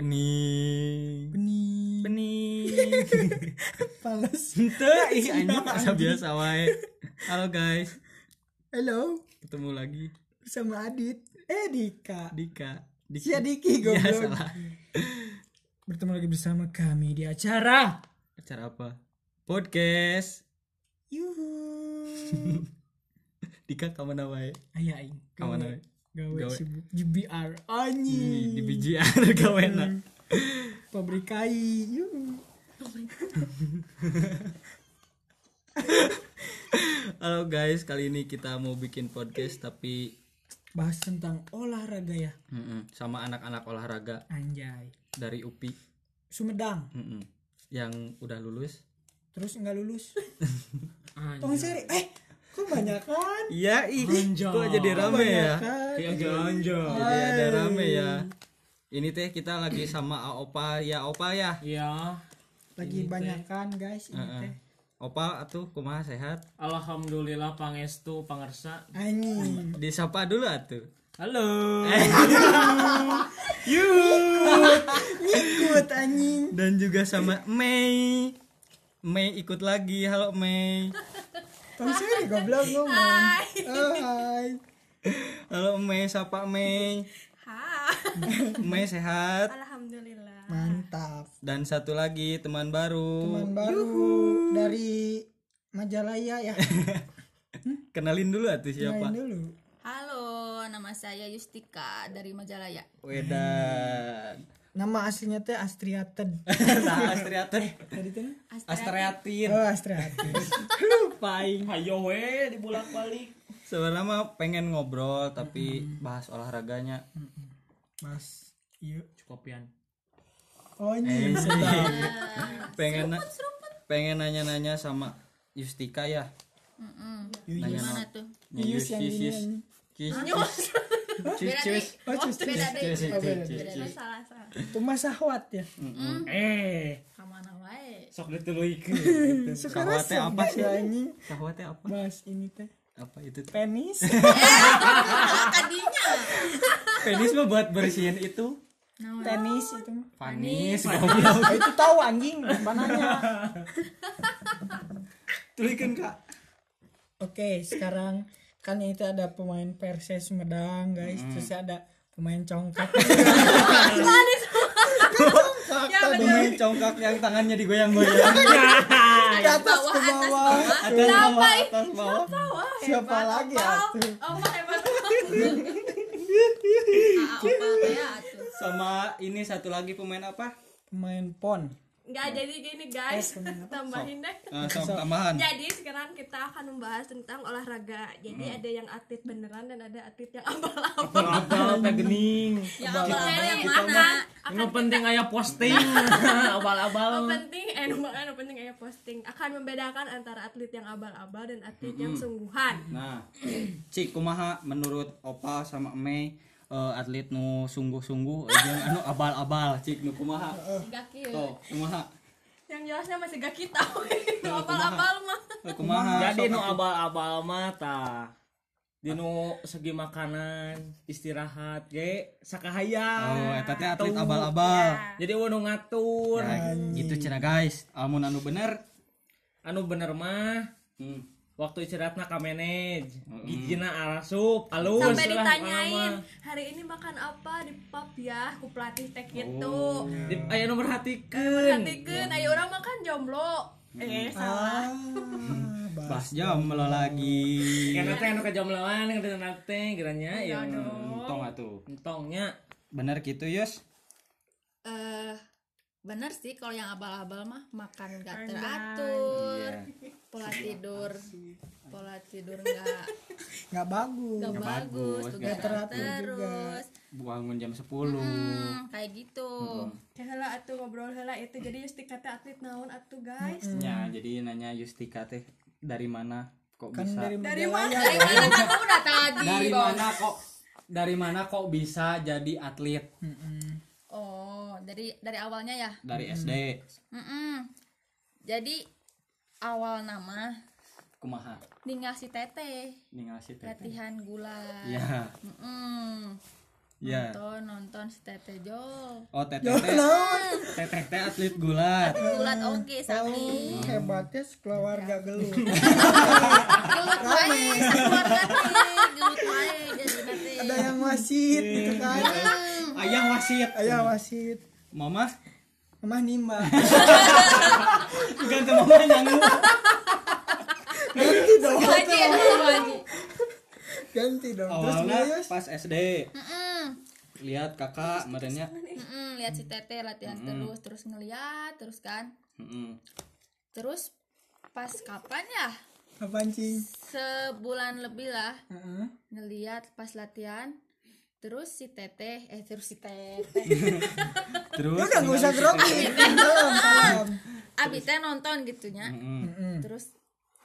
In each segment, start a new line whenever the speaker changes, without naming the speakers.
bening
benih
bening
panas
ente ih anjing asa biasa wae halo guys
halo
ketemu lagi
bersama Adit eh Dika
Dika
si Adiki
ya
goblok
salah
bertemu lagi bersama kami di acara
acara apa podcast
yuhu
Dika kemana wae
ayo aing
Kawan
gawe
aing.
gawe
Gawe.
sibuk GBR
Ih,
anyi
di BJR kawena
pabrik kai yuhu
halo guys kali ini kita mau bikin podcast tapi
bahas tentang olahraga ya
mm-mm, sama anak-anak olahraga
anjay
dari UPI
Sumedang
mm-mm, yang udah lulus
terus nggak lulus
Anjing.
Tong seri eh kok banyak kan
iya ih kok jadi rame ya
Kayak ganja.
Jadi ada rame ya. Ini teh kita lagi sama A- Opa ya Opa ya.
Iya.
lagi banyak kan guys
Ah,
ini teh
Opa atuh kumaha sehat.
Alhamdulillah pangestu pangersa.
anjing
Disapa dulu atuh.
Halo.
ikut anjing
Dan juga sama Mei. Mei ikut lagi. Halo Mei.
Tong seri goblok ngomong Oh, hai
Halo Mei, sapa Mei. Mei sehat.
Alhamdulillah.
mantap
Dan satu lagi teman baru.
teman baru dari Majalaya ya
Kenalin dulu atuh
main
siapa?
dulu
Halo, nama saya Yustika dari Majalaya.
Wedan.
nama aslinya teh Astriated
Nah, Astriatin.
tadi teh
Astriatin.
oh Astriated
Paing hayo we dibulak-balik.
Sebenarnya mah pengen ngobrol tapi bahas olahraganya.
mas iya
Cukupian.
oh anjing
Iya.
Eh. pengen na- pengen nanya-nanya sama Yustika ya nanya
Gimana Nah, tuh?
Yus yang ini yang-
Beda deh.
Oh, cus, cus.
Beda deh. Beda deh.
Yus
Salah salah.
Tumah sahwat ya
Hmm.
Eh,
Kamana wae?
sok dituluykeun.
Sekarang
Sahwatnya apa
sedih
sih?
anjing
Sahwatnya apa
Mas ini teh
apa itu
penis
Ah, Tadinya.
penis mah buat bersihin itu
Nah,
tenis itu mah.
panis
Ah, itu tahu anjing mananya
tulikan kak
oke sekarang kan itu ada pemain Perses Medang guys terus ada pemain congkak
ya Iya, benar.
pemain congkak yang tangannya digoyang-goyang
atas
Bawah
ke
atas
bawah.
bawah.
atas bawah atas bawah
Wah,
siapa
hebat, Oh,
lagi
Opal.
atuh?
Opal hebat. Ah, Opal ya atuh.
sama ini satu lagi pemain apa
pemain pon
Nggak jadi gini guys, tambahin deh.
Eh, sok tambahan
Jadi sekarang kita akan membahas tentang olahraga. Jadi ada yang atlet beneran dan ada atlet yang abal-abal.
Abal teh gening.
yang abal-abal yang mana?
Anu penting aya posting.
Yang
Abal-abal.
penting eh nu mana, nu penting kayak posting akan membedakan antara atlet yang abal-abal dan atlet yang sungguhan.
Nah, Cik kumaha menurut Opa sama Mei eh, atlet nu sungguh-sungguh jeung anu abal-abal Cik nu kumaha?
Gak
Tuh, kumaha?
Yang jelasnya masih gak kita. weh. Nu abal-abal mah.
Eh, Kumaha?
Jadi
sok
nu
atuh.
abal-abal mata. Di nu segi makanan, istirahat, ge sakahaya.
Oh, eta teh atlet abal-abal.
Jadi anu ngatur.
Nah, gitu cenah guys. Almun anu bener.
Anu bener mah
Hmm.
waktu istirahatna ka manage gigina arasup alus
Sampai
lah,
ditanyain,
lama.
"Hari ini makan apa di pub ya?" Ku pelatih teh gitu.
di aya nu merhatikeun
Perhatikan, ayo orang makan jomblo. Eh,
Ah,
salah.
Bahas jam lo lagi.
karena teh anu kajam lawan ngadeunan teh geranya ya
Untung atuh.
entongnya
Bener gitu, Yus.
eh bener sih kalau yang abal-abal mah makan gak teratur
Iya.
pola tidur pola tidur nggak
nggak bagus
nggak
Ya,
bagus
bagus,
begadang
nggak
teratur juga.
terus
Bangun jam 10.
Hmm, kayak gitu
Ya heula atuh ngobrol heula itu. Jadi Yustika teh atlet naon atuh, guys?
Ya, jadi nanya Yustika teh dari mana kok
kan
bisa?
dari
Dari
Majalaya.
mana?
Eh, ini kamu udah tadi
dari
Bang.
mana kok dari mana kok bisa jadi atlet
oh dari dari awalnya ya
dari SD
Mm-mm. jadi awal nama
kumaha
ninggal si teteh
ningali si teteh
latihan gula
ya
Mm-mm.
Ya.
nonton nonton si Tete Jol
Oh, TTT.
Jodoh.
TTT atlet gulat.
Mm.
bulat oke sapi
Oh, hebatnya keluarga gelut.
gelut wae keluarga nih gelut wae jadi nanti
Ada yang wasit gitu kan.
Ayah wasit.
Ayah wasit.
Mama
Mama nimba.
ganti mama nyanyi.
Ganti dong.
Wajib, wajib.
Ganti dong. Terus
Awalnya
Bius.
pas SD
Mm-mm,
lihat kakak merenya.
mm-mm, lihat si Tete latihan terus terus ngeliat terus kan
Mm-mm.
terus pas kapan ya
Apaan cing?
sebulan lebih lah
Heeh.
ngeliat pas latihan terus si teteh eh terus si teteh
Terus
Ya Udah gak usah grogi. Belum, belum.
Abi teh nonton gitunya.
Mm-mm.
Mm-mm.
Terus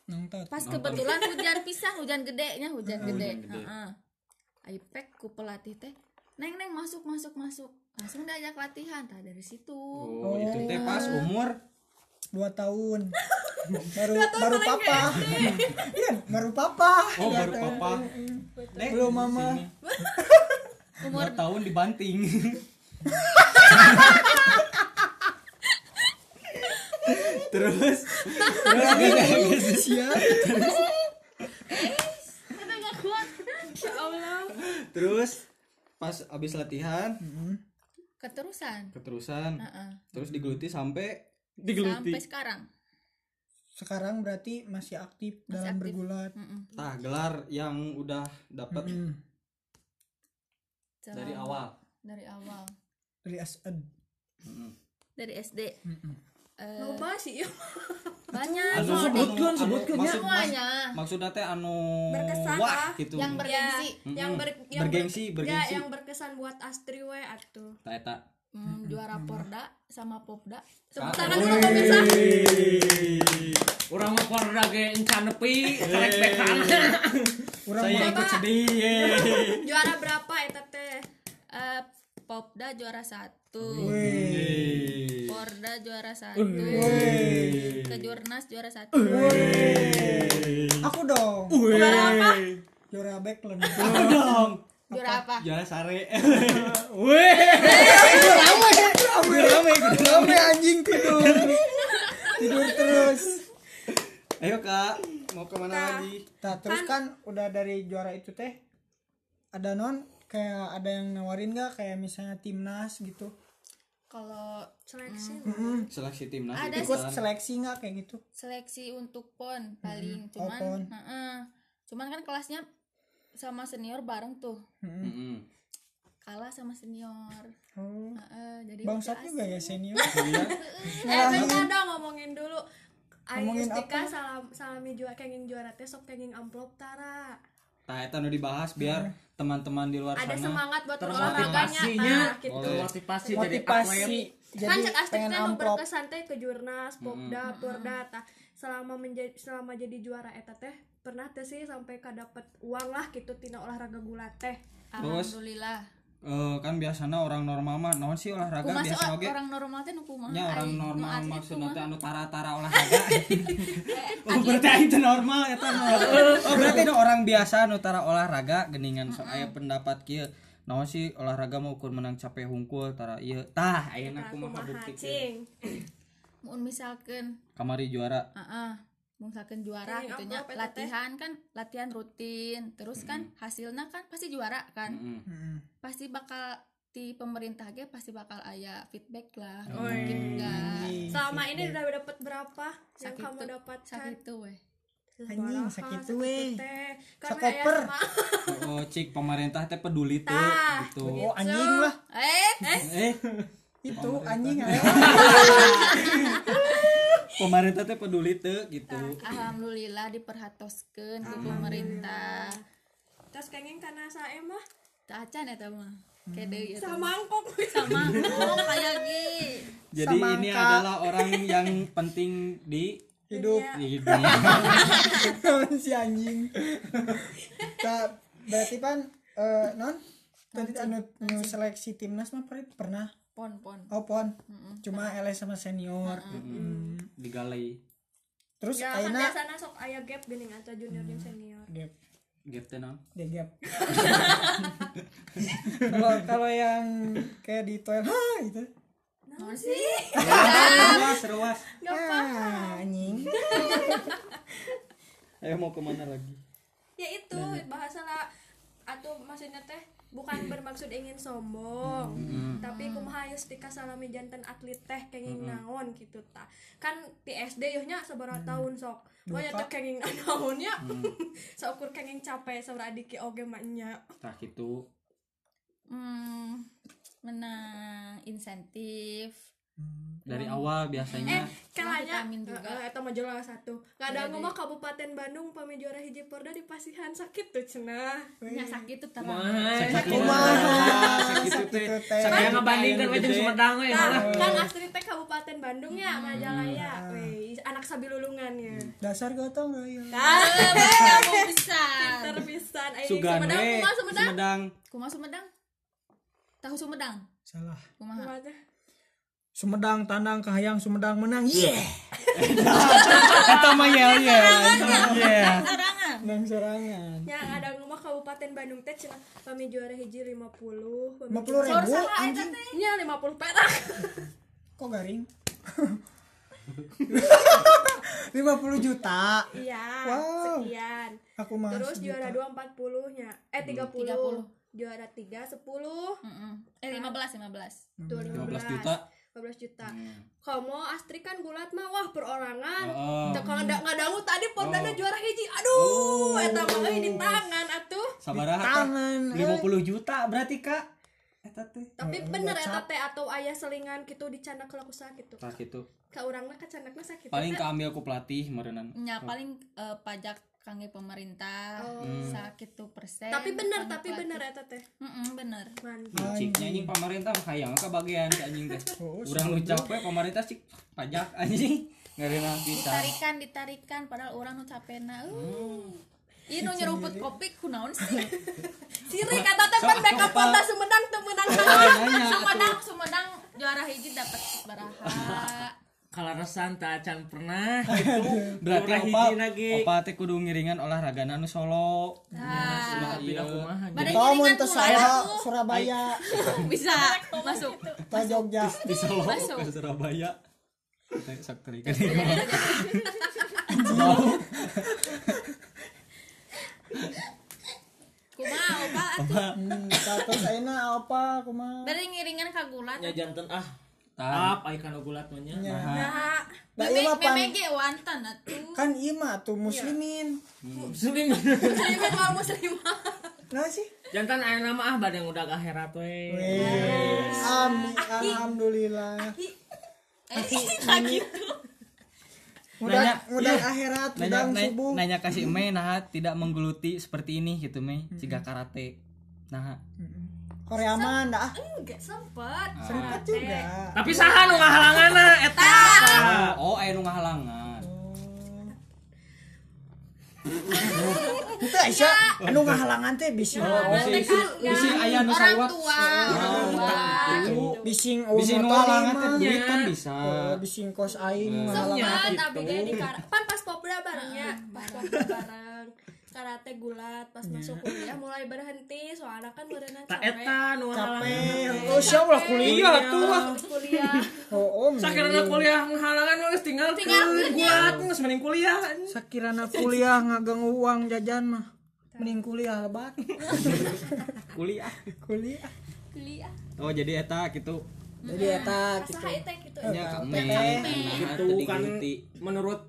Nonton.
pas kebetulan hujan pisang, hujan gedenya, hujan
hujan
gede.
gede.
Heeh. Aipek ku pelatih teh, "Neng, neng masuk, masuk, masuk." Langsung diajak latihan. Tah dari situ.
Oh, itu teh pas umur
Dua tahun. Baru baru papa. Iya, baru papa.
Oh, baru papa. Dek,
Mm, Belum mama.
umur tahun dibanting. terus terus
Sia.
terus pas abis latihan
Keterusan.
keterusan
Heeh.
terus digeluti sampai
Sampai sekarang.
Sekarang berarti masih aktif dalam
aktif.
bergulat.
Heeh.
tah gelar yang udah dapat
Mm.
dari awal
Dari awal.
Dari Asad.
Mm.
Dari SD. Eh,
Loba sih ieu.
banyak
Anu,
soal
anu, anu,
ya.
maksud-
semuanya
maksudnya teh anu
Berkesan
wah
lah.
gitu
Ya, yang bergengsi.
Mm-mm.
yang ber, yang
Bergengsi,
ber-
bergengsi.
Ya, yang berkesan buat Astri we atuh.
Tah eta.
Hmm, juara Porda sama Popda.
Tepuk
Ah,
tangan dulu pemirsa.
Orang mau keluar lagi encan nepi, karek bekan.
Kurang
saya ikut sedih yeay.
Juara berapa eta teh?
ya, Eh, Popda juara satu.
Yeay.
Porda juara satu. Kejurnas juara satu.
Aku dong.
Yeay.
Jora Beckland.
Apa dong
Juara apa?
juara sare
Rame rame rame anjing tidur. tidur terus.
ayo kak mau kemana lagi
Nah, terus kan udah dari juara itu teh ada non kayak ada yang nawarin nggak kayak misalnya timnas gitu
Kalau
Seleksi.
seleksi timnas
Ada
itu
ikut
kan.
seleksi nggak kayak gitu
seleksi untuk pon paling
Oh,
cuman,
PON.
Heeh. cuman kan kelasnya sama senior bareng tuh
Mm-mm.
kalah sama senior.
oh.
Heeh, jadi
bangsat juga ya senior
Eh, bentar dong ngomongin dulu. Ayo
Nah, Ngomongin
Istika salam salami juara kenging juara teh sok kenging amplop tara.
Nah, itu nu dibahas biar teman-teman di luar
Ada
sana
semangat buat olahraganya.
Motivasinya, Oh.
Nah, gitu.
motivasi jadi
motivasi
atlet.
jadi
kan cek Astrid
pengen
teh nu
amplop
berkesan teh ke jurnas, popda, porda tah. Nah, Selama menjadi selama jadi juara eta teh pernah teh sih sampai kadapat uang lah gitu tina olahraga gulat teh.
Alhamdulillah.
Eh, kan biasana orang normal mah naon sih olahraga
Kumaha sih
biasa
or-
oge
orang normal teh nu kumaha?
nya orang
Ai, nu
normal
atlet
maksudnya
kumaha? Eh,
teh anu tara-tara olahraga oh berarti aing teh normal eta mah. oh berarti ada orang biasa anu tara olahraga geningan so aya pendapat kieu naon sih olahraga mah ukur menang capek hungkul tara ieu tah ayeuna kumaha buktikeun
Nah, Cing.
Mun misalkan
kamari juara
Heeh. misalkan juara
Training
gitu nya.
apa, PTT?
Latihan kan latihan rutin. Terus kan hasilnya kan pasti juara kan.
Mm-mm.
Mm.
Pasti bakal di pemerintah ge pasti bakal aya feedback lah. Mungkin enggak
Nah,
Iya
Selama ini udah dapat berapa yang
Sakitu.
kamu dapatkan?
sakitu weh.
Anjing, sakitu weh.
teh.
Sakoper.
aya sama-
oh cik pemerintah teh peduli tuh
Tah.
gitu
oh anjing lah
Eh,
eh
itu anjing ayo.
pemerintah teh peduli tuh gitu
alhamdulillah diperhatoskeun ku pemerintah.
Terus kenging karena saya mah
Teu acan eta mah. Kede ieu teh.
Hmm. sama mangkok.
sama ya, oh, kayak gini.
jadi ini adalah orang yang penting di Iya.
hidup
di dunia
si anjing nah, berarti pan eh, non tadi anu, anu seleksi timnas mah Prit, pernah
Pon pon.
oh pon cuma LS sama senior
di galai
terus
Ya kan
Aina
biasana sok aya gap geuning antara junior jeung senior.
Gap.
Gap teh naon?
Degap. Kalau kalau yang kayak di toilet, ha gitu.
Naon sih?
Rewas, rewas.
Ah, anjing.
Ayo mau kemana lagi?
ya itu bahasa lah atau maksudnya teh bukan bermaksud ingin sombong tapi kumaha geus dikasalami janten atlet teh kenging naon gitu ta kan di SD yeuhnya sabaraha tahun sok banyak teh kenging naon ya saukur kenging capek sabaraha diki oge mah nya
Tah gitu.
Hmm, menang insentif.
Dari awal biasanya.
eh kalanya
vitamin juga.
eh, eh, eta mah jelas satu kadang mah Kabupaten Bandung pami juara hiji porda di Pasihan sakit tuh cenah
Nya sakit itu terang.
Mah,
Eh,
Kumaha? Sakitu teh.
Sakitu teh.
saya
Sakitu
ngebandingkan
teh
macam
gede.
Sumedang eh. ya malah.
kan kan asli teh Kabupaten Bandung ya Majalaya Weh, anak sabilulungan ya
Dasar gotong royong.
Nah,
Kamu besar.
terpisan ayo
Sugande,
Eh, Sumedang
Sumedang.
kumaha Sumedang
Kumaha Sumedang? Tahu Sumedang?
Salah.
Kumaha?
Kumaha teh?
Sumedang tandang kahayang Sumedang menang.
Iya.
Yeah.
Eta mah yel yel.
Sarangan.
Menang serangan.
nya Ya, ada ngomong Kabupaten Bandung teh cina pami juara hiji 50 pami
50 ribu anjing.
juara- nya 50 Iya, perak
Kok garing? 50 juta.
iya
Wow.
sekian
Aku mah
terus juara
sejuta.
2 40 nya eh 30
30.
juara 3 10
Mm-mm. Eh 15 15.
tuh
15
15
juta.
15 juta kamu Astri kan gulat mah wah perorangan
Heeh. Oh.
Teu kalau nggak nggak dangu tadi Pordana juara hiji aduh eta mah euy di tangan atuh
Sabaraha tah?
Tangan.
50 juta berarti Kak. Eta teh.
tapi bener eta teh atau ayah selingan gitu di canda kelaku gitu
Tah gitu.
ka urang mah kacandakna sakit
Paling keambil ku pelatih merenang.
Nya
Oh.
paling eh, pajak kangge pemerintah sakit tuh persen.
tapi bener tapi bener eta teh
Mm-mm, bener.
mantap
Cik anjing pemerintah mah hayang ke bagian si anjing teh.
Oh,
Urang nu capek pemerintah cik pajak anjing. Ngarena pisan.
Tarikan ditarikan padahal orang nu capena.
Hmm.
Uh. Ieu nu nyeruput kopi kunaon sih?
ciri kata teh
Sok
pan backup
apa?
kota Sumedang teu meunang
Tah,
saha
nanya atuh.
Sumedang Sumedang juara hiji dapat baraha.
Kalaresan tak acan pernah itu
Berarti
Urang
opa
hiji lagi.
opa teh kudu ngiringan olahraga nu solo.
Ah. Nah,
Nah,
Tapi
iya.
dah kumaha.
Tamun
Badan
kan
ngiringan
teu
tuh lah,
salah
aku.
Surabaya,
bisa masuk.
ta Jogja.
Di Solo
Masuk.
ke Surabaya. Teh sok tarikan ieu mah. Solo.
Kumaha opal atuh.
Hmm, terus ayeuna apa kumaha?
Bari ngiringan ka gulat.
Nya janten ah.
Tah.
Tap ai kana gulat mah nya.
Nya.
nah
Da ieu mah pan-
Meme ge wantan atuh.
kan ieu mah
Iya.
tuh muslimin.
Muslim.
muslimin wal muslimah
Nah sih.
Jantan aya nama ah badan udah ke akhirat we.
Wes. Amin. Alhamdulillah.
Eh,
Lagi
Nanya,
Mudah mudah
iya.
akhirat,
nanya,
mudah
nanya,
subuh.
nanya kasih Mei nah tidak menggeluti seperti ini gitu Mei jika karate nah
Koreaman dah.
enggak sempet
Sempet juga.
Tapi saha nu ngahalanganna eta?
oh ayo nu ngahalangan
Itu Aisyah, anu ngahalangan teh bising.
bisi
kan
bisi aya nu
orang
saliwat
tua, orang tua.
Ibu.
Bising
bisi nu ngahalangan teh
mah.
Iya.
duit kan bisa
Oh, Bising kos aing ngahalangan.
gitu.
sempet tapi dia di kar pan pas popda barengnya Ah, pas popda bareng karate gulat pas
Iya.
masuk kuliah mulai berhenti soalnya kan berenang
Ta
capek
eta nu
Eh,
ngahalangan.
oh siapa lah
Iya,
kuliah tuh.
kuliah
Oh, om.
Sakirana kuliah menghalangan geus tinggal tinggal kuat geus mending kuliah.
Sakirana kuliah ngagang uang jajan mah. Mending kuliah lebat.
kuliah
kuliah.
Kuliah.
oh jadi eta gitu
Jadi eta gitu.
saha teh gitu
nya ka Mei nah
Itu kan
digeluti
menurut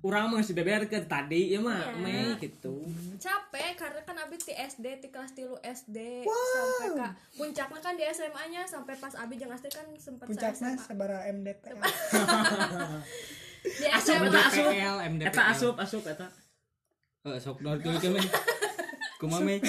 urang mah geus dibeberkeun tadi ya mah meh gitu.
capek karena kan abis di SD di kelas tilu SD sampai ke puncaknya kan di SMA nya sampai pas abis jeung Astri kan sempat saya
Puncaknya sabara MDT.
di SMA
Eta asup.
PL MDPL
Eta asup asup eta.
eh sok dor tuluy Mei kumaha Mei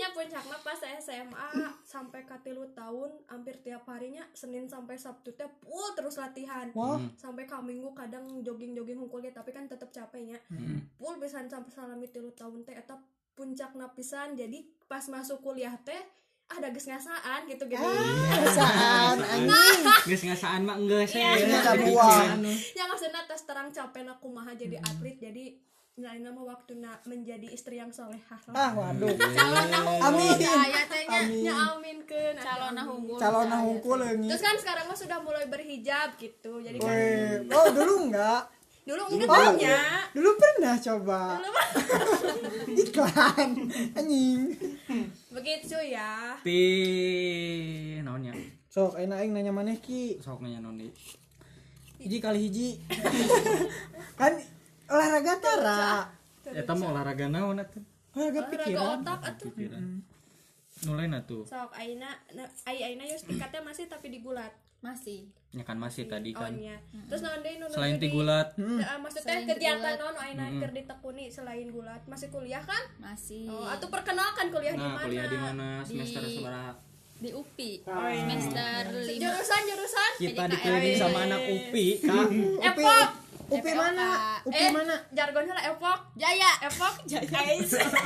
nya puncaknya pas saya SMA sampai ke tilu tahun hampir tiap harinya Senin sampai Sabtu teh full terus latihan
Wah.
sampai ka minggu kadang jogging jogging hungkulnya tapi kan tetap capeknya
Hmm.
full pisan sampai salami tilu tahun teh eta puncak napisan jadi pas masuk kuliah teh ada geus ngasaan gitu gitu
Perasaan anjing.
geus ngasaan mah enggeus
Ini
ya
kabuang.
ya maksudnya tes terang capek aku kumaha jadi atlet jadi nyalain nama waktu menjadi istri yang solehah
ah waduh
Amin.
amin
Ayah tehnya
amin
Ya amin ke
calon hungkul.
calon hungkul leungi
Terus kan sekarang mah sudah mulai berhijab gitu Jadi kan
Weh, oh dulu enggak
dulu enggak
Oh.
punya
dulu pernah coba iklan anjing
Begitu ya
Ti naonnya?
sok enak aing nanya maneh ki
Sok nanya naon deui.
hiji kali hiji kan olahraga tara
Eta mah olahraga naon atuh?
olahraga
Olahraga
pikiran
otak atuh
Pikiran. Nulain atuh.
Sok Aina na- Ai Aina ya tiketnya masih tapi digulat
Masih.
Ya kan masih tadi
Oh,
kan.
onnya Terus naon deui nu nu
Selain
di-
ti gulat,
Hmm.
Teu, Eh, maksudnya
Selain
kegiatan
digulat.
non Aina keur ditekuni selain gulat masih kuliah kan?
Masih.
Oh, atau perkenalkan kuliah
Iya.
di
nah
mana?
kuliah di mana semester
Di-
seberapa?
Di UPI. Semester 5.
Jurusan jurusan
Kita dikeliling sama anak UPI, Kak.
upi
Epok.
upi mana upi
Eh,
mana
jargonnya lah epok.
Jaya.
Epok jaya.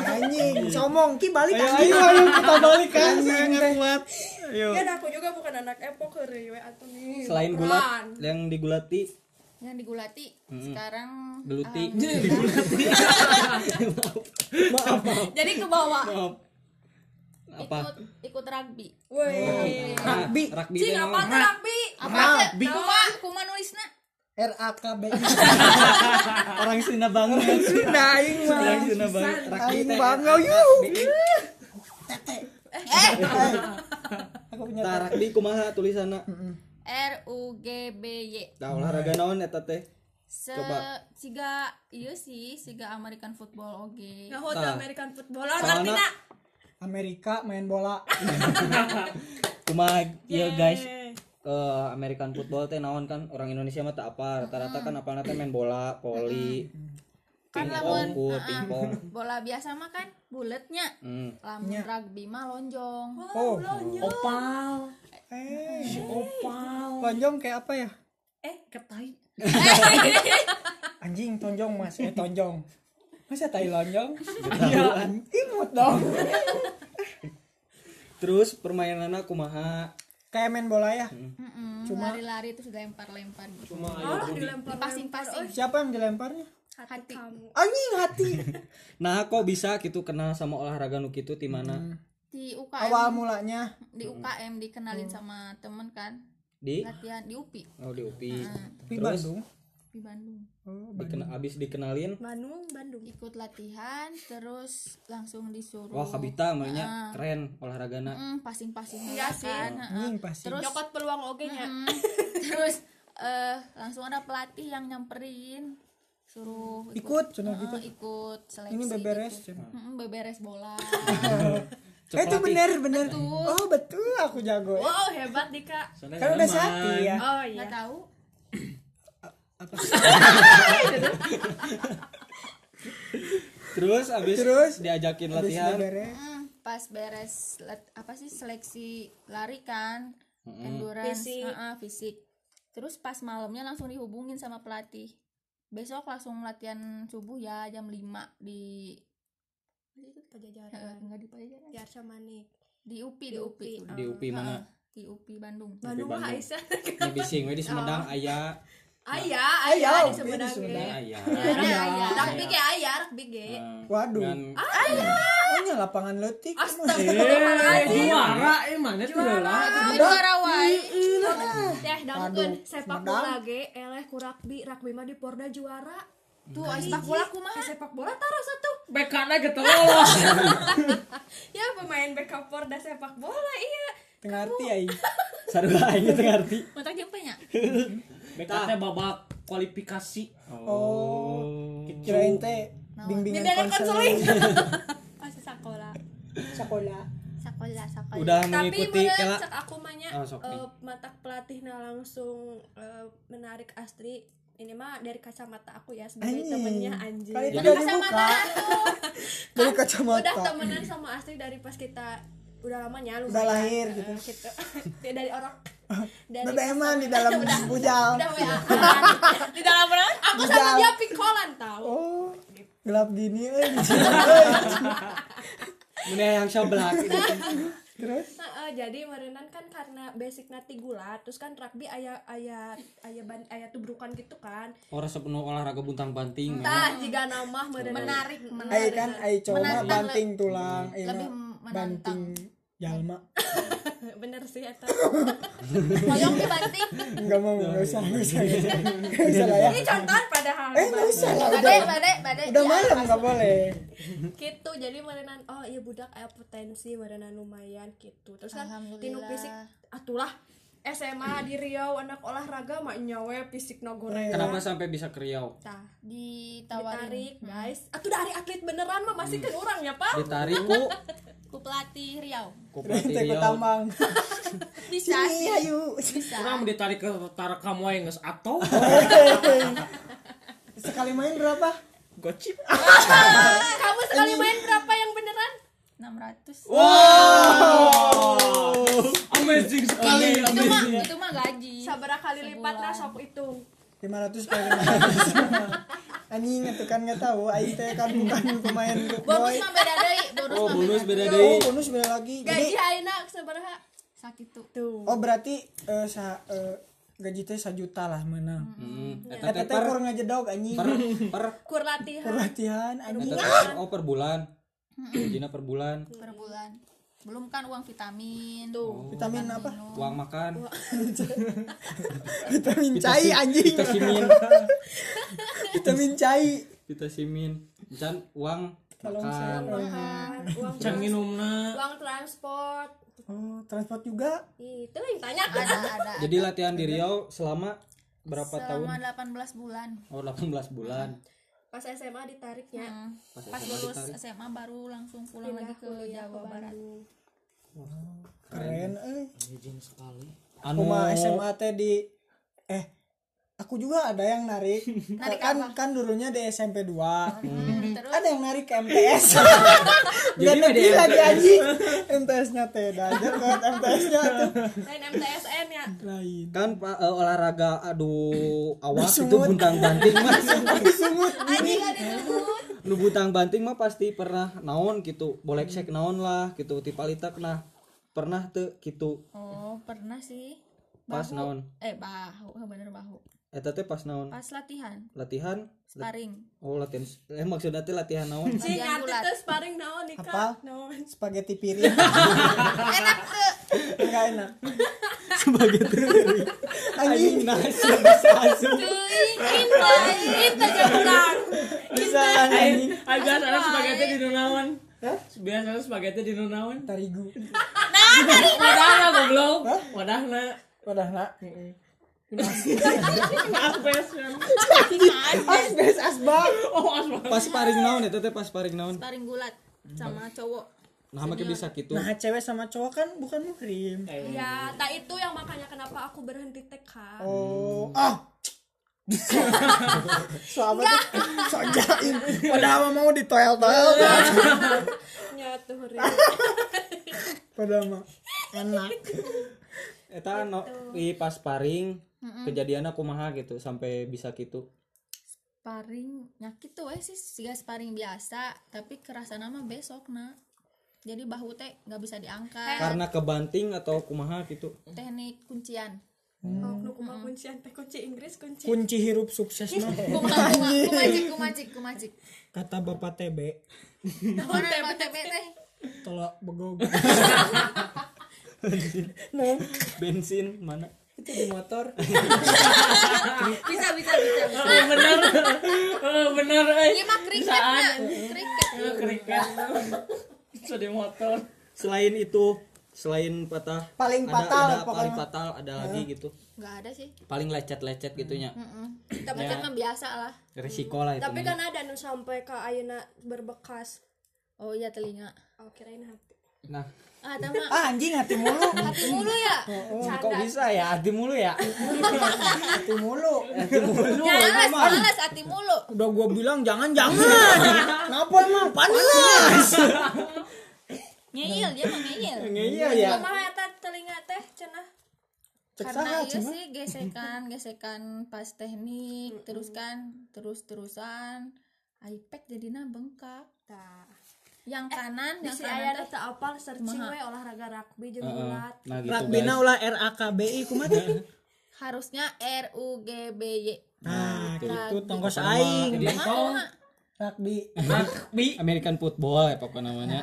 anjing somong ki balik
Ayo,
anjing
Iya, ayo kita balik kan, saya
Anjing,
nggak kuat. Ayo.
Ya aku juga bukan anak epok heureuy we atuh nih.
Selain
Peran.
gulat yang digulati,
Eh, Yang digulati.
Hmm.
Sekarang
geluti.
jadi ke bawah.
Maaf.
Ah.
Apa?
Ikut ikut rugby.
Weh.
Rugby.
Ah, Rugby.
Cing
teh
apa
naon?
tuh rugby?
Apa sih? Kuma kuma nulisna.
R A K B
Orang Sunda banget.
Sunda aing mah
Orang Sunda banget. Rugby
aing
teh.
bangau yuh Eh, aku punya
Tah rugby kumaha tulisanna?
R U G B Y.
Tah olahraga naon eta teh?
Se
Coba.
siga iya sih, siga American football oge.
Nah, hotel
Tah.
American Nah, footballer
Soalna-
artinya
Amerika main bola
Kumaha ya guys? ke American football teh naon kan orang Indonesia mah tak apa rata-rata kan apa teh main bola, voli,
Kan
pingpong,
lamun
kur,
ah, ah.
pingpong.
bola biasa mah kan buletnya.
Hmm.
Lamun rugby mah lonjong.
oh
opal
eh
opal
tonjong kayak apa ya
Eh, ketai.
anjing tonjong mas eh tonjong masa tai lonjong iya an- imut dong
Terus permainanna kumaha?
kayak main bola ya
Cuma Hmm, lari-lari terus lempar-lempar gitu.
cuma ayo
Allah
Budi
dilempar Oh,
Pasing-pasing.
siapa yang dilemparnya
hati, kamu.
anjing hati
Nah, kok bisa gitu kenal sama olahraga nu kitu di mana?
Di UKM
awal mulanya
di UKM dikenalin sama temen kan
Di
latihan di UPI
oh di UPI.
di Bandung
di Bandung
Dikena, abis dikenalin,
Bandung, Bandung.
ikut latihan terus langsung disuruh
wah kabita amalnya keren olahragana.
Mm, pasing-pasing dulu
sih.
kan, heeh.
anjing pasti
terus
Cokot peluang oge
Iya.
nya.
mm, terus eh, langsung ada pelatih yang nyamperin suruh
ikut cenah
heeh,
gitu
ikut Oh, iya. seleksi
ini beberes ya?
gitu.
cenah
Mm, beberes bola
eh itu
Coklatih.
bener bener oh betul aku jago ya.
Wow, hebat Dika.
Soalnya
kan udah
emang.
satu ya
Oh
nggak
iya.
tahu
Terus abis
Terus,
diajakin
Habis
latihan.
beberes
Mm, pas beres let- apa sih seleksi lari kan endurance
Fisik.
heeh, fisik terus pas malamnya langsung dihubungin sama pelatih besok langsung latihan subuh ya jam 5 di
Itu
eh,
pajajaran.
enggak di Pajajaran.
Biar samanik.
di UPI di,
Di
UPI,
UPI,
udah.
Di UPI mana?
Heeh, di UPI Bandung
Bandung mah
Bandung.
Aisyah.
Di Bising, we di Sumedang aya.
Ayah,
Ayah,
ayah
di
di Sumedang.
Sumedang.
Nah, aya.
Iya,
Ayah, ayah.
Rugby ge ayah, rugby ge.
Waduh.
Dan-
Pokoknya lapangan letik
eh juara eh mana tuh lah
Ah, juara wae
Teh dangkeun
Aduh,
Eh, sepak bola ge eleh ku rugby, rugby mah di Porda juara.
tuh ai sepak bola kumaha
Eh, sepak bola taruh satu.
bekana
gitu
getololos
Ya pemain backup Porda sepak bola iya.
tengah arti aing
Sarua aing teu ngarti.
Oh,
mentak jeung penya
bekana babak kualifikasi
Oh.
kirain teh bimbingan
Bimbingan
konseling
Masih sekolah.
sekolah
sakola sakola
Udah
Tapi
mengikuti
menurut
kela.
cek aku mahnya
Oh, sok nih.
eh, mata pelatihnya langsung eh, menarik Astri ini mah dari kacamata aku ya sebagai
Anjing.
temennya anjing.
Kali itu
Dari
dari
kacamata
muka.
aku.
Dari
Kan
kacamata.
Udah temenan sama Astri dari pas kita udah lamanya lu.
Udah lahir gitu.
gitu. Ya, dari orang dari
BBM-an di dalam bujal
udah WA. Di dalam orang aku sama
Udah.
dia pikolan tahu.
oh gelap gini eh
Mun aya yang sebelah.
terus
Nah, eh, jadi merenan kan karena basic nanti gula terus kan rugby ayah ayah ayah ban ayah tubrukan gitu kan
orang sepenuh olahraga buntang
Hmm.
banting
tah jika nama merenang
Menarik,
ai
menarik.
kan ai coba
Menantang
banting tulang ai mah
ya,
Lebih menantang.
banting jalma
bener sih eta
Hoyong dibanting.
enggak mau enggak usah enggak usah enggak usah lah ya
ini contoh padahal
eh enggak usah lah udah
Badai, badai, badai.
udah
Ya,
malam
pas-
enggak boleh
gitu jadi merenan oh iya budak aya potensi merenan lumayan gitu terus kan
Alhamdulillah.
tinu fisik atulah SMA di Riau anak olahraga mak nyawe fisik goreng
kenapa sampai bisa ke Riau
Tah,
Ditawarin
ditarik guys atuh dari atlet beneran mah masih kan orang ya pak
ditarik ku
ku pelatih Riau.
Kupati
Teh
Riau
tambang
Bisa
sini
sih,
ayo
bisa.
Orang ditarik ke tarik kamu yang nges atau
sekali main berapa
gocip.
kamu sekali
Iya.
main berapa yang beneran
600.
Oh,
Amazing sekali.
itu mah
iya,
itu mah gaji.
sabara kali lipat lah sok itu
500 kali 500 anjing itu kan nggak tahu aing teh kan bukan pemain good
Bonus
boy
mah beda deui, bonus
oh
mah
bonus
beda.
beda
oh
deh
bonus beda lagi
gaji
jadi
ayeuna sabaraha
Sakitu.
tuh
oh berarti eh sa eh, gaji teh sejuta lah menang
hmm. eta
eta
teh
teh
per
kurang ngejedog anjing
per per
kur latihan
perhatian anjing
eta teh per- oh per bulan Gina per bulan
per bulan. Belum kan uang vitamin.
tuh
vitamin apa
uang makan
vitamin
Vitamin-
cai anjing
vitasimin
vitamin cai
vitasimin dan uang
Kalau
makan
makan uang
Can minumna.
uang transport
oh transport juga
itu yang tanya
Ada ada.
jadi latihan di Riau selama berapa tahun
Selama 18 bulan.
oh 18 bulan
pas SMA ditariknya
pas
Pas
SMA
lulus
ditarik
SMA baru langsung pulang lagi ke Jawa Barat.
keren eh
Amazing sekali.
anu
Kuma SMA teh di eh aku juga ada yang narik kan kan dulunya di SMP 2
Hmm.
Terus
ada yang narik ke MTS
Jadi
jadi
mah di
negeri lagi anjing MTS nya teh dah aja kan MTS nya tuh
lain MTSN ya
lain
kan Pak, eh, olahraga aduh awak itu
Bersumut.
buntang banting mas
sumut
anjing kan itu
nu buntang banting mah pasti pernah naon gitu boleh cek
Hmm.
naon lah gitu tipalitak nah pernah tuh gitu
oh, pernah sih.
pas naon
Eh, bahu, bener bahu.
eta teh pas naon
Pas latihan,
latihan
sparring.
oh latihan eh maksudnya teh latihan naon
sih ngerti tuh sparring naon nikah
Apa?
naon
spaghetti piring
Enak tuh.
enggak enak
sebagai teori
anjing
nasi bisa asup
kita kita jauh
bisa anjing
Ay, biasa Eh, spaghetti di nunawan.
Hah?
Biasa spaghetti di nunawan.
tarigu
Wadahna goblok. Wadahna.
udah nak
Asbesan.
asbes asbak
Oh, asbes.
pas paring naon eta teh pas paring naon
Sparring gulat
Hmm.
sama cowok.
nah make bisa gitu
nah cewek sama cowok kan bukan muhrim
ya tak itu yang makanya kenapa aku berhenti TK
Oh, ah. Soalnya sojain. Padahal mah mau ditoel-toel.
ya tuh Ri.
Padahal mah enak.
eta no,
Gitu.
di pas paring kejadiannya kumaha gitu sampai bisa gitu
Sparring nyakit tuh weh sih, siga sparring biasa, tapi kerasa nama besok na. Jadi bahu teh nggak bisa diangkat.
karena kebanting atau kumaha gitu
Teknik kuncian. Hmm.
oh nu kumaha kuncian teh kunci Inggris kunci
Kunci hirup sukses mah
Kumacik, kumacik, kumacik, kumacik.
kata Bapak TB.
Mana nama TB teh?
Tolak begog. Neng,
bensin mana
itu di motor.
Bisa, bisa, bisa. bisa.
Oh, bener. Oh, bener. eh.
Ini Iya, mah kriketnya, kriket.
Eh, Kriket. Itu di motor.
selain itu selain patah
Paling
ada-
fatal
ada,
pokoknya.
paling fatal ada lagi gitu
Nggak ada sih.
paling lecet-lecet gitunya
Tapi
Ya.
kan mah biasa lah.
resiko lah itu
tapi
namanya.
kan ada nu sampai ke ayeuna berbekas
Oh iya telinga.
oh kirain hati
nah
Ah, sama
Ah anjing hati mulu,
hati mulu ya.
Oh,
kok bisa ya hati mulu ya
hati mulu.
Males, males hati mulu.
Udah gua bilang jangan jangan. Kenapa emang panas?
Ngeyel, dia mah ngeyel.
iya ya
kumaha eta telinga teh cenah
Cek
karena
saha
iya
cuman.
sih gesekan gesekan pas teknik terus kan terus terusan iPad jadinya bengkak
Tah.
yang kanan yang
si
kanan
aya
teh
tak apal searching we olahraga rugby jeung ulat
nah gitu
Rak bina
guys
ulah RAKBI kumaha teh?
harusnya R U G B Y
Nah, gitu tongkos
Sama
aing.
di-
Tong
Rugby.
rugby
American football ya pokoknya namanya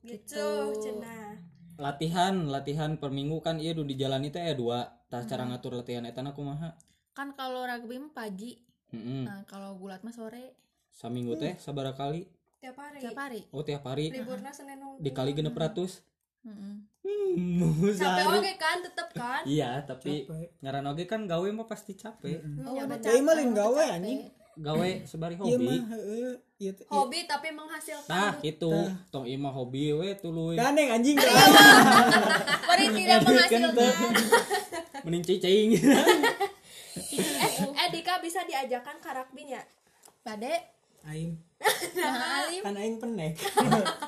gitu cenah
latihan latihan per minggu kan iya di jalan itu ya dua tah cara ngatur latihan etana kumaha
kan kalau rugby mah pagi
heeh
nah kalau gulat mah sore
saminggu teh sabara kali
tiap hari
tiap hari
oh tiap hari
liburna Senin Minggu
dikali genep ratus
Mm-mm.
Hmm,
capek
sehari.
oge kan tetep kan
iya tapi ngaran oke kan gawe mah pasti capek
Oh, udah
Deui mah
capek,
lain
udah
gawe
capek.
anjing.
gawe sebari
Ieu Iya mah
hobi
heeh. Ieu teh.
hobi tapi menghasilkan
nah itu tong imah hobi we tuluy
Ganeng anjing.
Mari tidak menghasilkan
mending cicing
eh, eh Dika bisa diajakan ke rugby-nya
pade
Aing.
nah alim
Kan aing penek.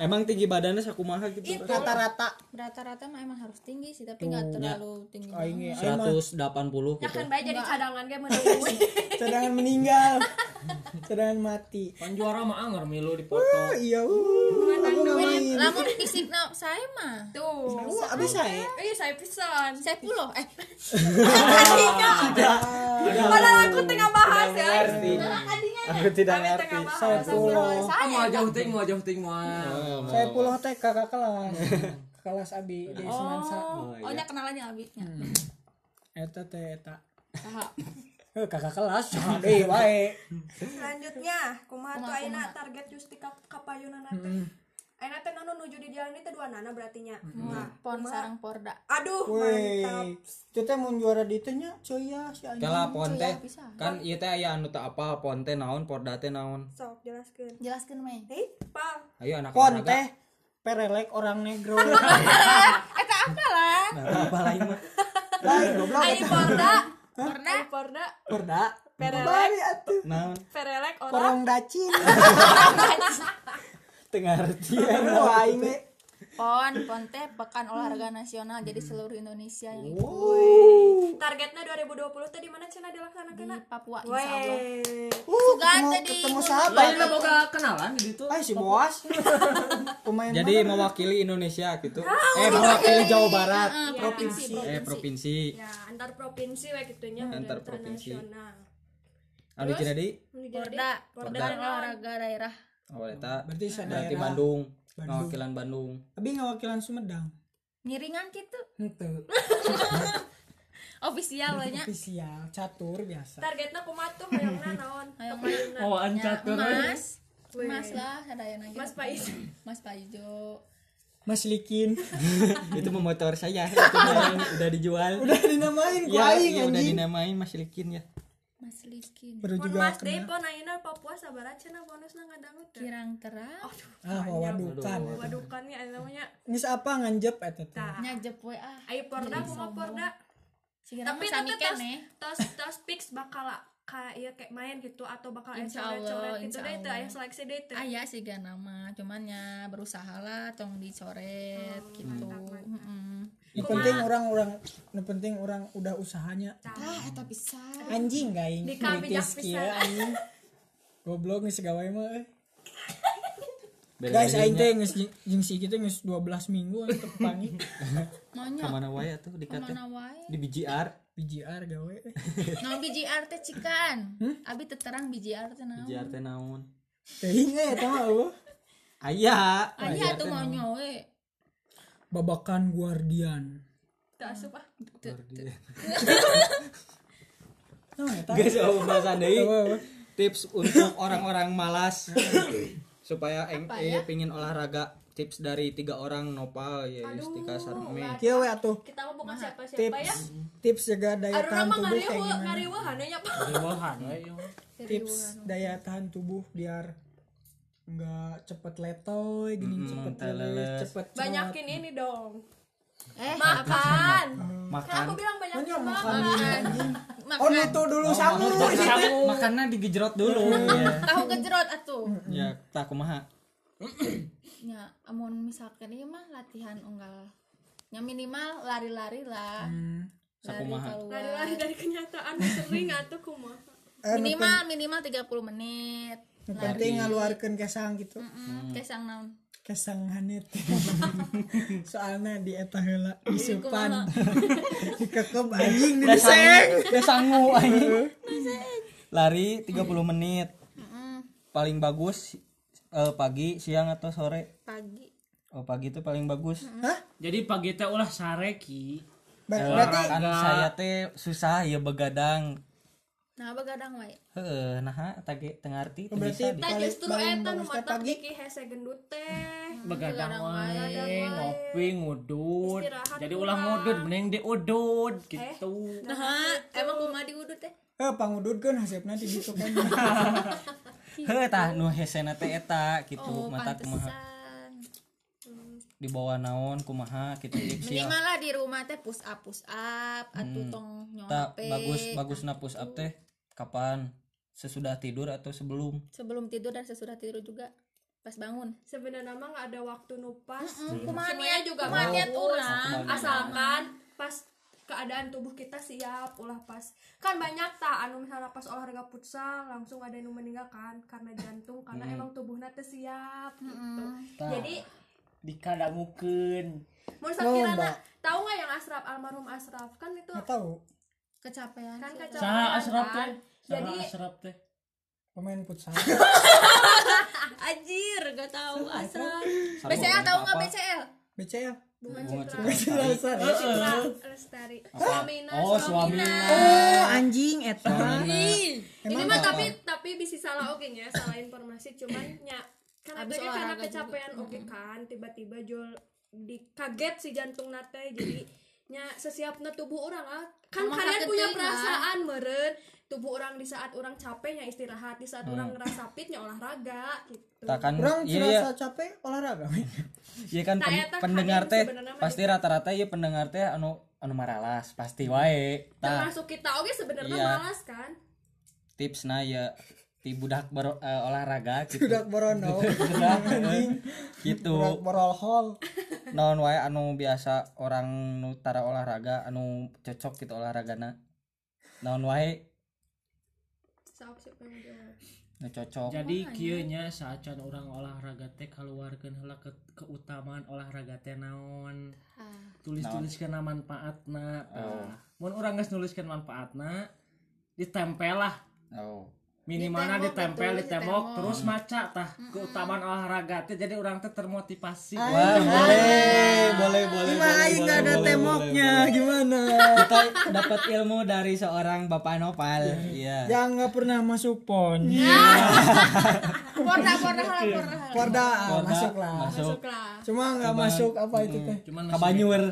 emang tinggi badannya sakumaha gitu
Iya,
Rata-rata
rata-rata mah emang harus tinggi sih tapi nggak terlalu tinggi
aing
iya
ge. aing mah
180
ya
gitu
kan bae jadi cadangan ge menurut gue.
cadangan meninggal. Cadangan mati.
Pan Kan juara mah anger milu dipoto.
Iya. uh, Aku nggak main.
lamun fisik na- saya mah
tuh
Wah, abis saya.
iya saya pisan
saya puluh eh
padahal aku tengah bahas ya
aku tidak
kami tengah bahas
Pulau.
Ah mau jauh ting, mau jauh ting mau.
Saya pulang teh kakak kelas. Kelas abi di Semansa.
oh oh nya kenalannya abisnya
Eta teh eta. Eh, kakak kelas. Saha deui wae.
selanjutnya kumaha tuh ayeuna target justika kapayunan teh ayeuna teh nu nuju di jalan itu dua nana berartinya nah
pon sarang porda
aduh mantap
Weh. Itu teh mun juara di teh nya cuy ya si anjing.
Kala ponte
bisa.
kan ieu teh aya anu teu apal ponte naon porda teh naon.
sok jelaskeun
jelaskan main
hei pal
Ayo anak
Pon
olahraga.
teh perelek orang negro.
eta Eh, apa lah
Apa lain mah?
Lain goblok
Ayi Porda
porda
Ayi Porda
perda.
Perelek
Bari atuh.
Naon?
Perelek orang
Porong dacin.
Teu ngarti.
Aduh aing we.
pon pon teh pekan olahraga nasional jadi seluruh Indonesia yang ikut
Uh. Targetnya 2020 tadi mana Cina dilaksanakan
di Papua
Weh
insya Allah
Uh,
Sugan
ketemu-
tadi.
ketemu
Lain
sahabat.
lah boga kenalan di situ.
Ah si Boas. Pemain
Jadi mewakili Indonesia gitu. Eh mewakili Jawa
Ah,
Barat.
Eh,
Iya.
provinsi
Eh provinsi.
Ya antar provinsi we gitunya
Antar
udah
provinsi.
internasional.
Anu jadi
Jadi,
porda
Porda.
porda olahraga daerah
Oh eta.
Berarti sa
Berarti
daerah.
Bandung. Mewakilan Bandung.
Abi ngawakilan Sumedang.
ngiringan gitu
Henteu.
ofisial banyak
Ofisial catur biasa.
Targetnya kumatuh hoyongna naon?
Hoyongna.
Kapayunan.
Oh ancatur.
emas
Weh.
emas lah sadayana gitu
Mas Pais.
Mas Paijo
Mas Likin.
Itu mah motor saya. Itu mah yang udah dijual.
Udah dinamain ku
Ya,
aing
iya, udah
anjing.
dinamain Mas Likin ya.
Mas Likin
Baru
Pon
juga
Mas Dei
kenal.
pon ayeuna Papua sabar cenah bonusna ngadangut. teh.
kirang terang
Ah, wawadukan.
Wadukan ya aya namanya.
Geus apa nganjep eta teh.
Tah.
nyajep we ah
Ayi Porda kumaha Porda?
Sigira
Tapi
mah
tapi
samikeun
tos
eh.
tos tos fix bakal kayak kayak main gitu atau bakal aya
Insya Allah,
coret-coret gitu
insya
deh teh
Allah.
aya seleksi deh teh.
Ayah sih gak nama, cuman ya berusaha lah tong dicoret gitu. Heeh.
Nu penting orang-orang, nu penting orang udah usahanya.
Ah, eta bisa.
Anjing gaing.
Dika bijak
Kritis kieu anjing. Goblok geus gawe mah euy.
Beda
Guys, aing teh geus jing- jeung si kitu geus 12 minggu anjing tepangi.
Maunya
Kamana wae atuh dikata.
mana wae?
Di BGR.
PGR gawe.
Nah, BJR teh cikan. Abi teterang BJR teh naon?
BGR teh naon?
Teuing ge eta mah eueuh.
Aya.
Ayah Ah, tuh maunya we.
Babakan Guardian.
Teu asup ah.
Nah, eta.
Guys, oh, bahasan deui.
Eueuh, eueuh.
tips untuk orang-orang malas supaya eng eh, pingin olahraga tips dari tiga orang nopal ya Yustika Sarme
Kieu we atuh.
Kita mah bukan siapa-siapa ya.
Tips tips jaga daya
Aduh
tahan
nama
tubuh kayak
ngariwe
gimana?
ngariwe hananya pak.
Dewahan we.
Tips daya tahan tubuh biar nggak cepet letoy, gini cepet leles, cepet cerot.
Banyakin ini dong.
Eh,
Makan. Kan aku
makan
bilang banyak
Banyak makan
makan.
dulu anjing. Oh,
makan
itu dulu sangu.
makannya digejrot dulu ya
tahu kejerot atuh.
ya tak kumaha
Ya, amun misalkan ieu mah latihan unggal. Ya minimal lari-lari lah.
Hmm.
Lari
Sakumaha.
keluar.
Lari-lari Nah, dari kenyataan sering atuh kumaha.
Minimal minimal 30 menit.
Nu penting ngaluarkeun kesang gitu.
Hmm.
Mm, Kesang naon?
kesanghannya teh. soalnya di eta heula disupan dikekep anjing di
Udah
seng
sangu- udah sangu anjing. Lari 30 menit. Paling bagus eh, pagi, siang atau sore?
pagi
Oh, pagi itu paling bagus.
hah
Jadi pagi teh ulah sareki.
Ber- berarti
Kan saya teh susah ya begadang.
nah begadang wae
Heeh, nah eta ge teu ngarti teu
berarti
bisa di-
Nah
paling
justru
paling
eta nu
bagus teh
matak
pagi
Diki hese gendut teh.
Begadang
begadang wae.
wae, ngopi, ngudut.
Istirahat
Jadi ulah ngudut, mending diudut gitu.
nah emang kumaha diudut teh
eh pangudud kan hasilnya di situ kan
Heuh tah nu hesena teh eta gitu
oh
mata kumaha
pantesan
di bawah naon kumaha gitu tipsi.
minimal lah di rumah teh push up push up atuh tong
Hmm. Ta,
nyongape
bagus bagus napus up teh kapan? Sesudah tidur atau sebelum?
sebelum tidur dan sesudah tidur juga pas bangun
Sebenarnya mah nggak ada waktu nupas.
Hmm,
kumaha
Semuanya
niat
juga
kumaha niat
bagus.
urang
asalkan pas keadaan tubuh kita siap ulah pas kan banyak tak anu misalnya pas olahraga futsal langsung ada yang meninggal kan karena jantung karena emang tubuhnya teh siap gitu jadi
Dikadamukeun.
mau sakirana
Lomba.
tahu nggak yang asraf almarhum asraf kan itu
nggak tahu
kecapean
kan
sih.
kecelakaan
Saha asrap Ah, teh?
kan?
Saha
jadi
asrap teh?
pemain futsal
Anjir, gak tahu asal.
Sarua
BCL tahu nggak
apa?
BCL?
BCL
bunga
Bunga
citra
Citra Lestari.
Lestari.
Citra lestari suamina
Oh, suamina.
oh anjing eta
Suamina.
ini mah tapi tapi bisa salah oke nya salah informasi cuman nya karena
Abis
tadi karena
olahraga
kecapean oke kan tiba-tiba jol dikaget si jantung nate jadi nya sesiapna tubuh orang lah kan
Emang
kalian punya
kageting,
perasaan meren tubuh orang di saat orang capek nya istirahat di saat
Hmm.
orang ngerasa fit nya olahraga gitu
Tak kan
orang
Hmm, iya iya.
serasa capek olahraga
Iya kan
Nah,
pen-
eta
pendengar
kadang
teh
sebenarnya mah
pasti rata-rata ya pendengar teh anu anu maralas pasti wae. Tah
termasuk kita oke sebenarnya
Iya.
malas kan
tipsna ya ti budak ber- eh, olahraga gitu.
budak Oh, borono
Budak, eh,
budak
gitu.
borol hall
Naon wae anu biasa orang nu tara olahraga anu cocok gitu olahragana. Naon wae
sok sok yang jawab.
nu
Oh,
cocok.
Jadi kieu nya saacan urang olahraga teh kaluarkeun heula ke keutamaan olahraga teh naon.
Ah.
Tulis-tuliskeun na manfaatna. Tah. Mun urang geus nuliskeun manfaatna ditempel lah
Oh.
minimalnya
Ditembok, Hmm.
ditempel
betul,
di tembok terus maca tah keutamaan olahraga teh jadi orang teh termotivasi
Ah.
Wah, boleh, boleh, boleh.
Ima aing gak ada temoknya gimana?
Kita dapat ilmu dari seorang Bapak Nopal. Iya.
Yang nggak pernah masuk pon.
Porda, porda, halah, porda, halah.
Korda ah,
Korda,
masuk lah.
Masuk.
Cuma nggak masuk apa itu
Hmm.
teh?
cuman
Kabanyur.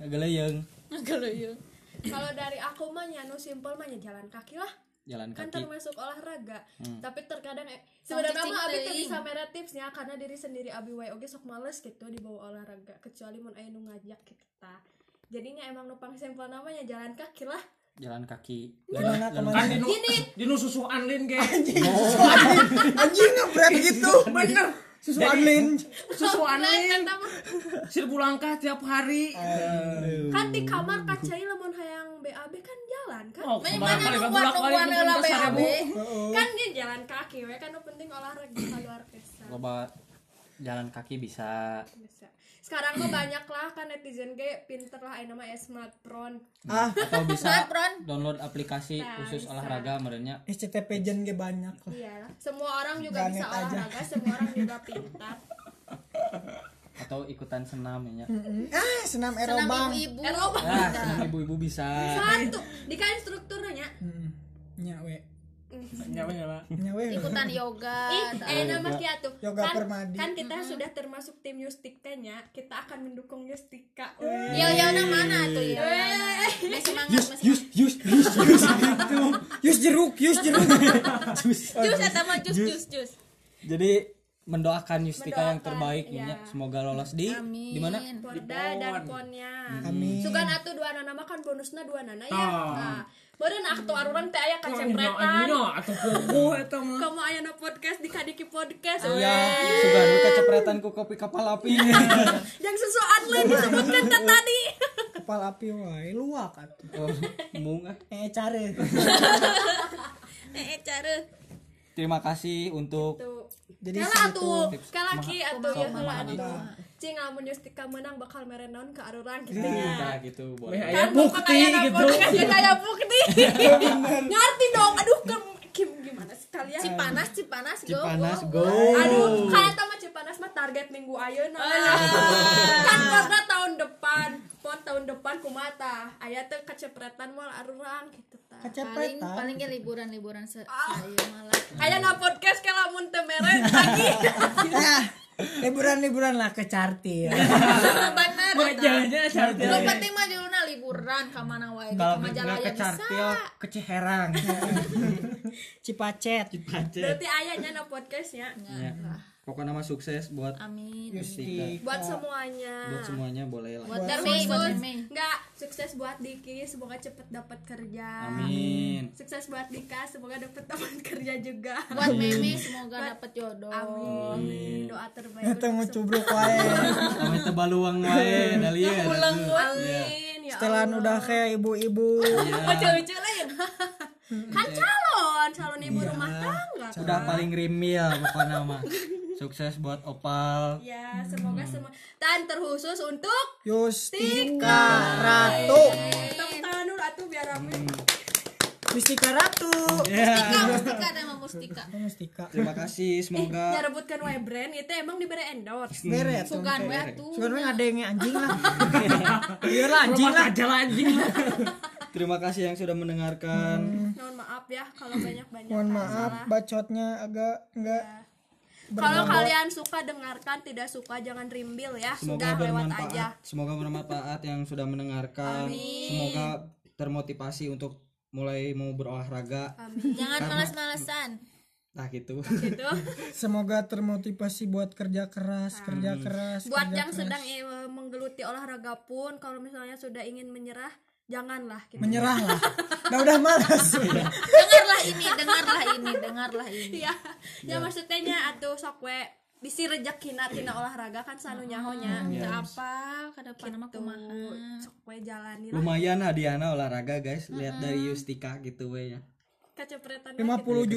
Ngegeleyeng.
Kalau iya. yuk.
kalau dari aku mah nya nu simple mah nya jalan kaki lah
Jalan kaki.
kan termasuk olahraga tapi terkadang eh, sebenarnya mah abi tuh bisa mere tipsnya karena diri sendiri abi wae oge sok males gitu dibawa olahraga kecuali mun aya nu ngajak kita jadinya emang nu simpel namanya jalan kaki lah
Jalan kaki.
Kemana kemana?
kan dinu dinu susu anlin ge
Anjing ngebret gitu.
bener
Susu Adlin.
susu anlin
Eta mah,
seribu langkah tiap hari
kan di kamar kacai lamun hayang BAB kan jalan kan
oh
Mana
kemana-mana
nu
gak
kuat
bolak
nu
balik
kuat heula BAB?
kan dia jalan kaki we kan nu penting olahraga keluar desa
Loba jalan kaki bisa.
Bisa. sekarang mah banyak lah kan netizen ge pinter lah ayeuna mah ya smartphone
Ah,
Atau bisa
Patron.
download aplikasi khusus olahraga merenya.
SCTP jen ge banyak lah.
Iya, semua orang juga
Ganet
bisa
aja.
olahraga, semua orang juga pintar.
Atau ikutan senam ya.
Ah, senam
Senam
aerobang.
ibu-ibu.
Nah.
Ah, senam ibu-ibu bisa.
Satu, Eh, di kan strukturnya.
Mm-mm. Nya we.
nyawa nyawa
Nya we.
Ikutan yoga.
Ah,
Ih, eh nama kia tuh.
Yoga
kan,
Permadi.
kan kita sudah termasuk tim Yustika nya, kita akan mendukung Yustika.
Eh.
Yo yo nah mana tuh yo? Masih semangat, masih.
Yus, yus, yus, yus. gitu.
Yus jeruk, yus jeruk.
Jus eta mah jus jus jus.
Jadi mendoakan Yustika yang
Mendoakan,
terbaik
iya.
ya. Semoga lolos di di
Amin.
mana?
Porda dan ponnya.
Amin.
Sugan atuh dua nana mah kan bonusna dua nana ya.
Tah.
Nah, meureun aktu aruran teh aya
anjina
kacepretan.
atau kuku eta mah
Kamu aya na podcast di Kadiki Podcast.
Iya, sudah lu kecepretan ku kopi kapal api.
Yang sesuatu
Iya.
lain disebutkan teh tadi.
Kepal api wae luak atuh.
oh, mung ah.
Eh care.
Eh cara.
Ti terima kasih untuk
tuh
Jadi
kala
segitu.
atuh kala ki atuh ya heula
Kumaha,
atuh
kumaha.
cing lamun Yustika menang bakal merenon ke arurang gitu nya
Iya.
kita gitu buat
Weh, aya
kan
bukti gitu.
kayak bukti
Iya,
ngerti dong aduh ke Kim gimana sih kalian
Cipanas, Cipanas, go.
Cipanas
go.
go.
Aduh, kayak tama Cipanas mah target minggu ayeuna.
Ah.
Kan karena tahun depan, pon tahun depan kumata. Aya teh kecepretan moal arurang gitu tah.
Paling
Kecepatan.
paling ge liburan-liburan se saya malah.
Aya ngapodcast ke lamun teu mere lagi.
Nah, liburan-liburan lah ke Cartil.
Bener.
Wajahnya cantik.
Lu penting mah judulna nah, liburan ka mana wae
kalau
ka majalah
nggak ke
ya bisa.
Cartil ke Ciherang
Cipacet.
Iya.
Berarti ayahnya no podcastnya.
Ya. pokoknya mah sukses buat
Amin.
Yustika
Buat semuanya.
Iya. buat semuanya boleh lah
Iya. Buat
Terus,
Mei, buat Mei.
Nggak, sukses buat Diki, semoga cepet dapat kerja.
amin
Sukses buat Dika, semoga dapat teman kerja juga.
Buat Mei semoga dapat jodoh.
Amin. Amin. Doa terbaik.
Kita mau
untuk semua.
cubruk wae.
kami tebaluang wae dari ya
Pulang gua.
Amin. Ya
Setelah
Allah.
udah kayak ibu-ibu.
lucu-lucu lain kan calon calon ibu rumah tangga kan?
udah paling rimil pokoknya mah sukses buat opal
ya semoga semua dan terkhusus untuk
Yustika Ratu.
tepuk tangan dulu atuh biar rame
Yustika Ratu.
Ya.
Mustika, mustika ada mah mustika.
Mustika.
terima kasih
ya
semoga
rebutkan wae brand itu emang diberi endorse
Beret.
Sugan wae atuh.
Sugan we ngadenge anjing lah. Iya lah anjing
Rumah
lah.
aja lah anjing.
terima kasih yang sudah mendengarkan
mohon maaf ya kalau banyak banyak
Mohon maaf bacotnya agak enggak
kalau kalian suka dengarkan tidak suka jangan rimbil ya
Semoga
sudah lewat
bermanfaat.
aja
Semoga bermanfaat yang sudah mendengarkan. Semoga termotivasi untuk mulai mau berolahraga.
Jangan malas-malasan.
Nah gitu.
gitu
semoga termotivasi buat kerja keras, kerja keras.
buat
kerja
yang
keras.
sedang eh, menggeluti olahraga pun kalau misalnya sudah ingin menyerah janganlah gitu
menyerah lah. Nah udah malas.
Dengarlah ini, dengarlah ini, dengarlah ini.
Iya. Ya maksudnya nya atuh sok we bisi rejekina tina olahraga kan sanu nyahonya.
Teu
Ya.
apal ke depan mah kumaha.
Sok we jalani lah
Lumayan hadiahnya olahraga guys. Lihat dari Yustika gitu we ya.
kacepretan.
50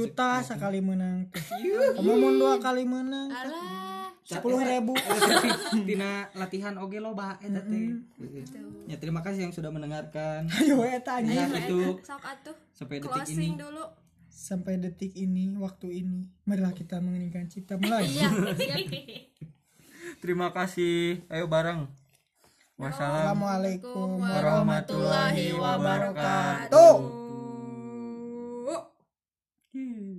juta sekali menang. Kamu mau dua kali menang.
Alah.
10 ribu.
Tina latihan oge loba eta teh.
Gitu.
Ya terima kasih yang sudah mendengarkan.
Ayo eta
Nah
anjing.
itu
Eh, Sok atuh
sampai detik
closing
ini.
dulu.
Sampai detik ini, waktu ini, marilah kita mengeningkan cipta mulai.
Iya.
Terima kasih. Ayo bareng. Wassalam.
Assalamualaikum
warahmatullahi
wabarakatuh.
wabarakatuh.
Tuh.
Hmm.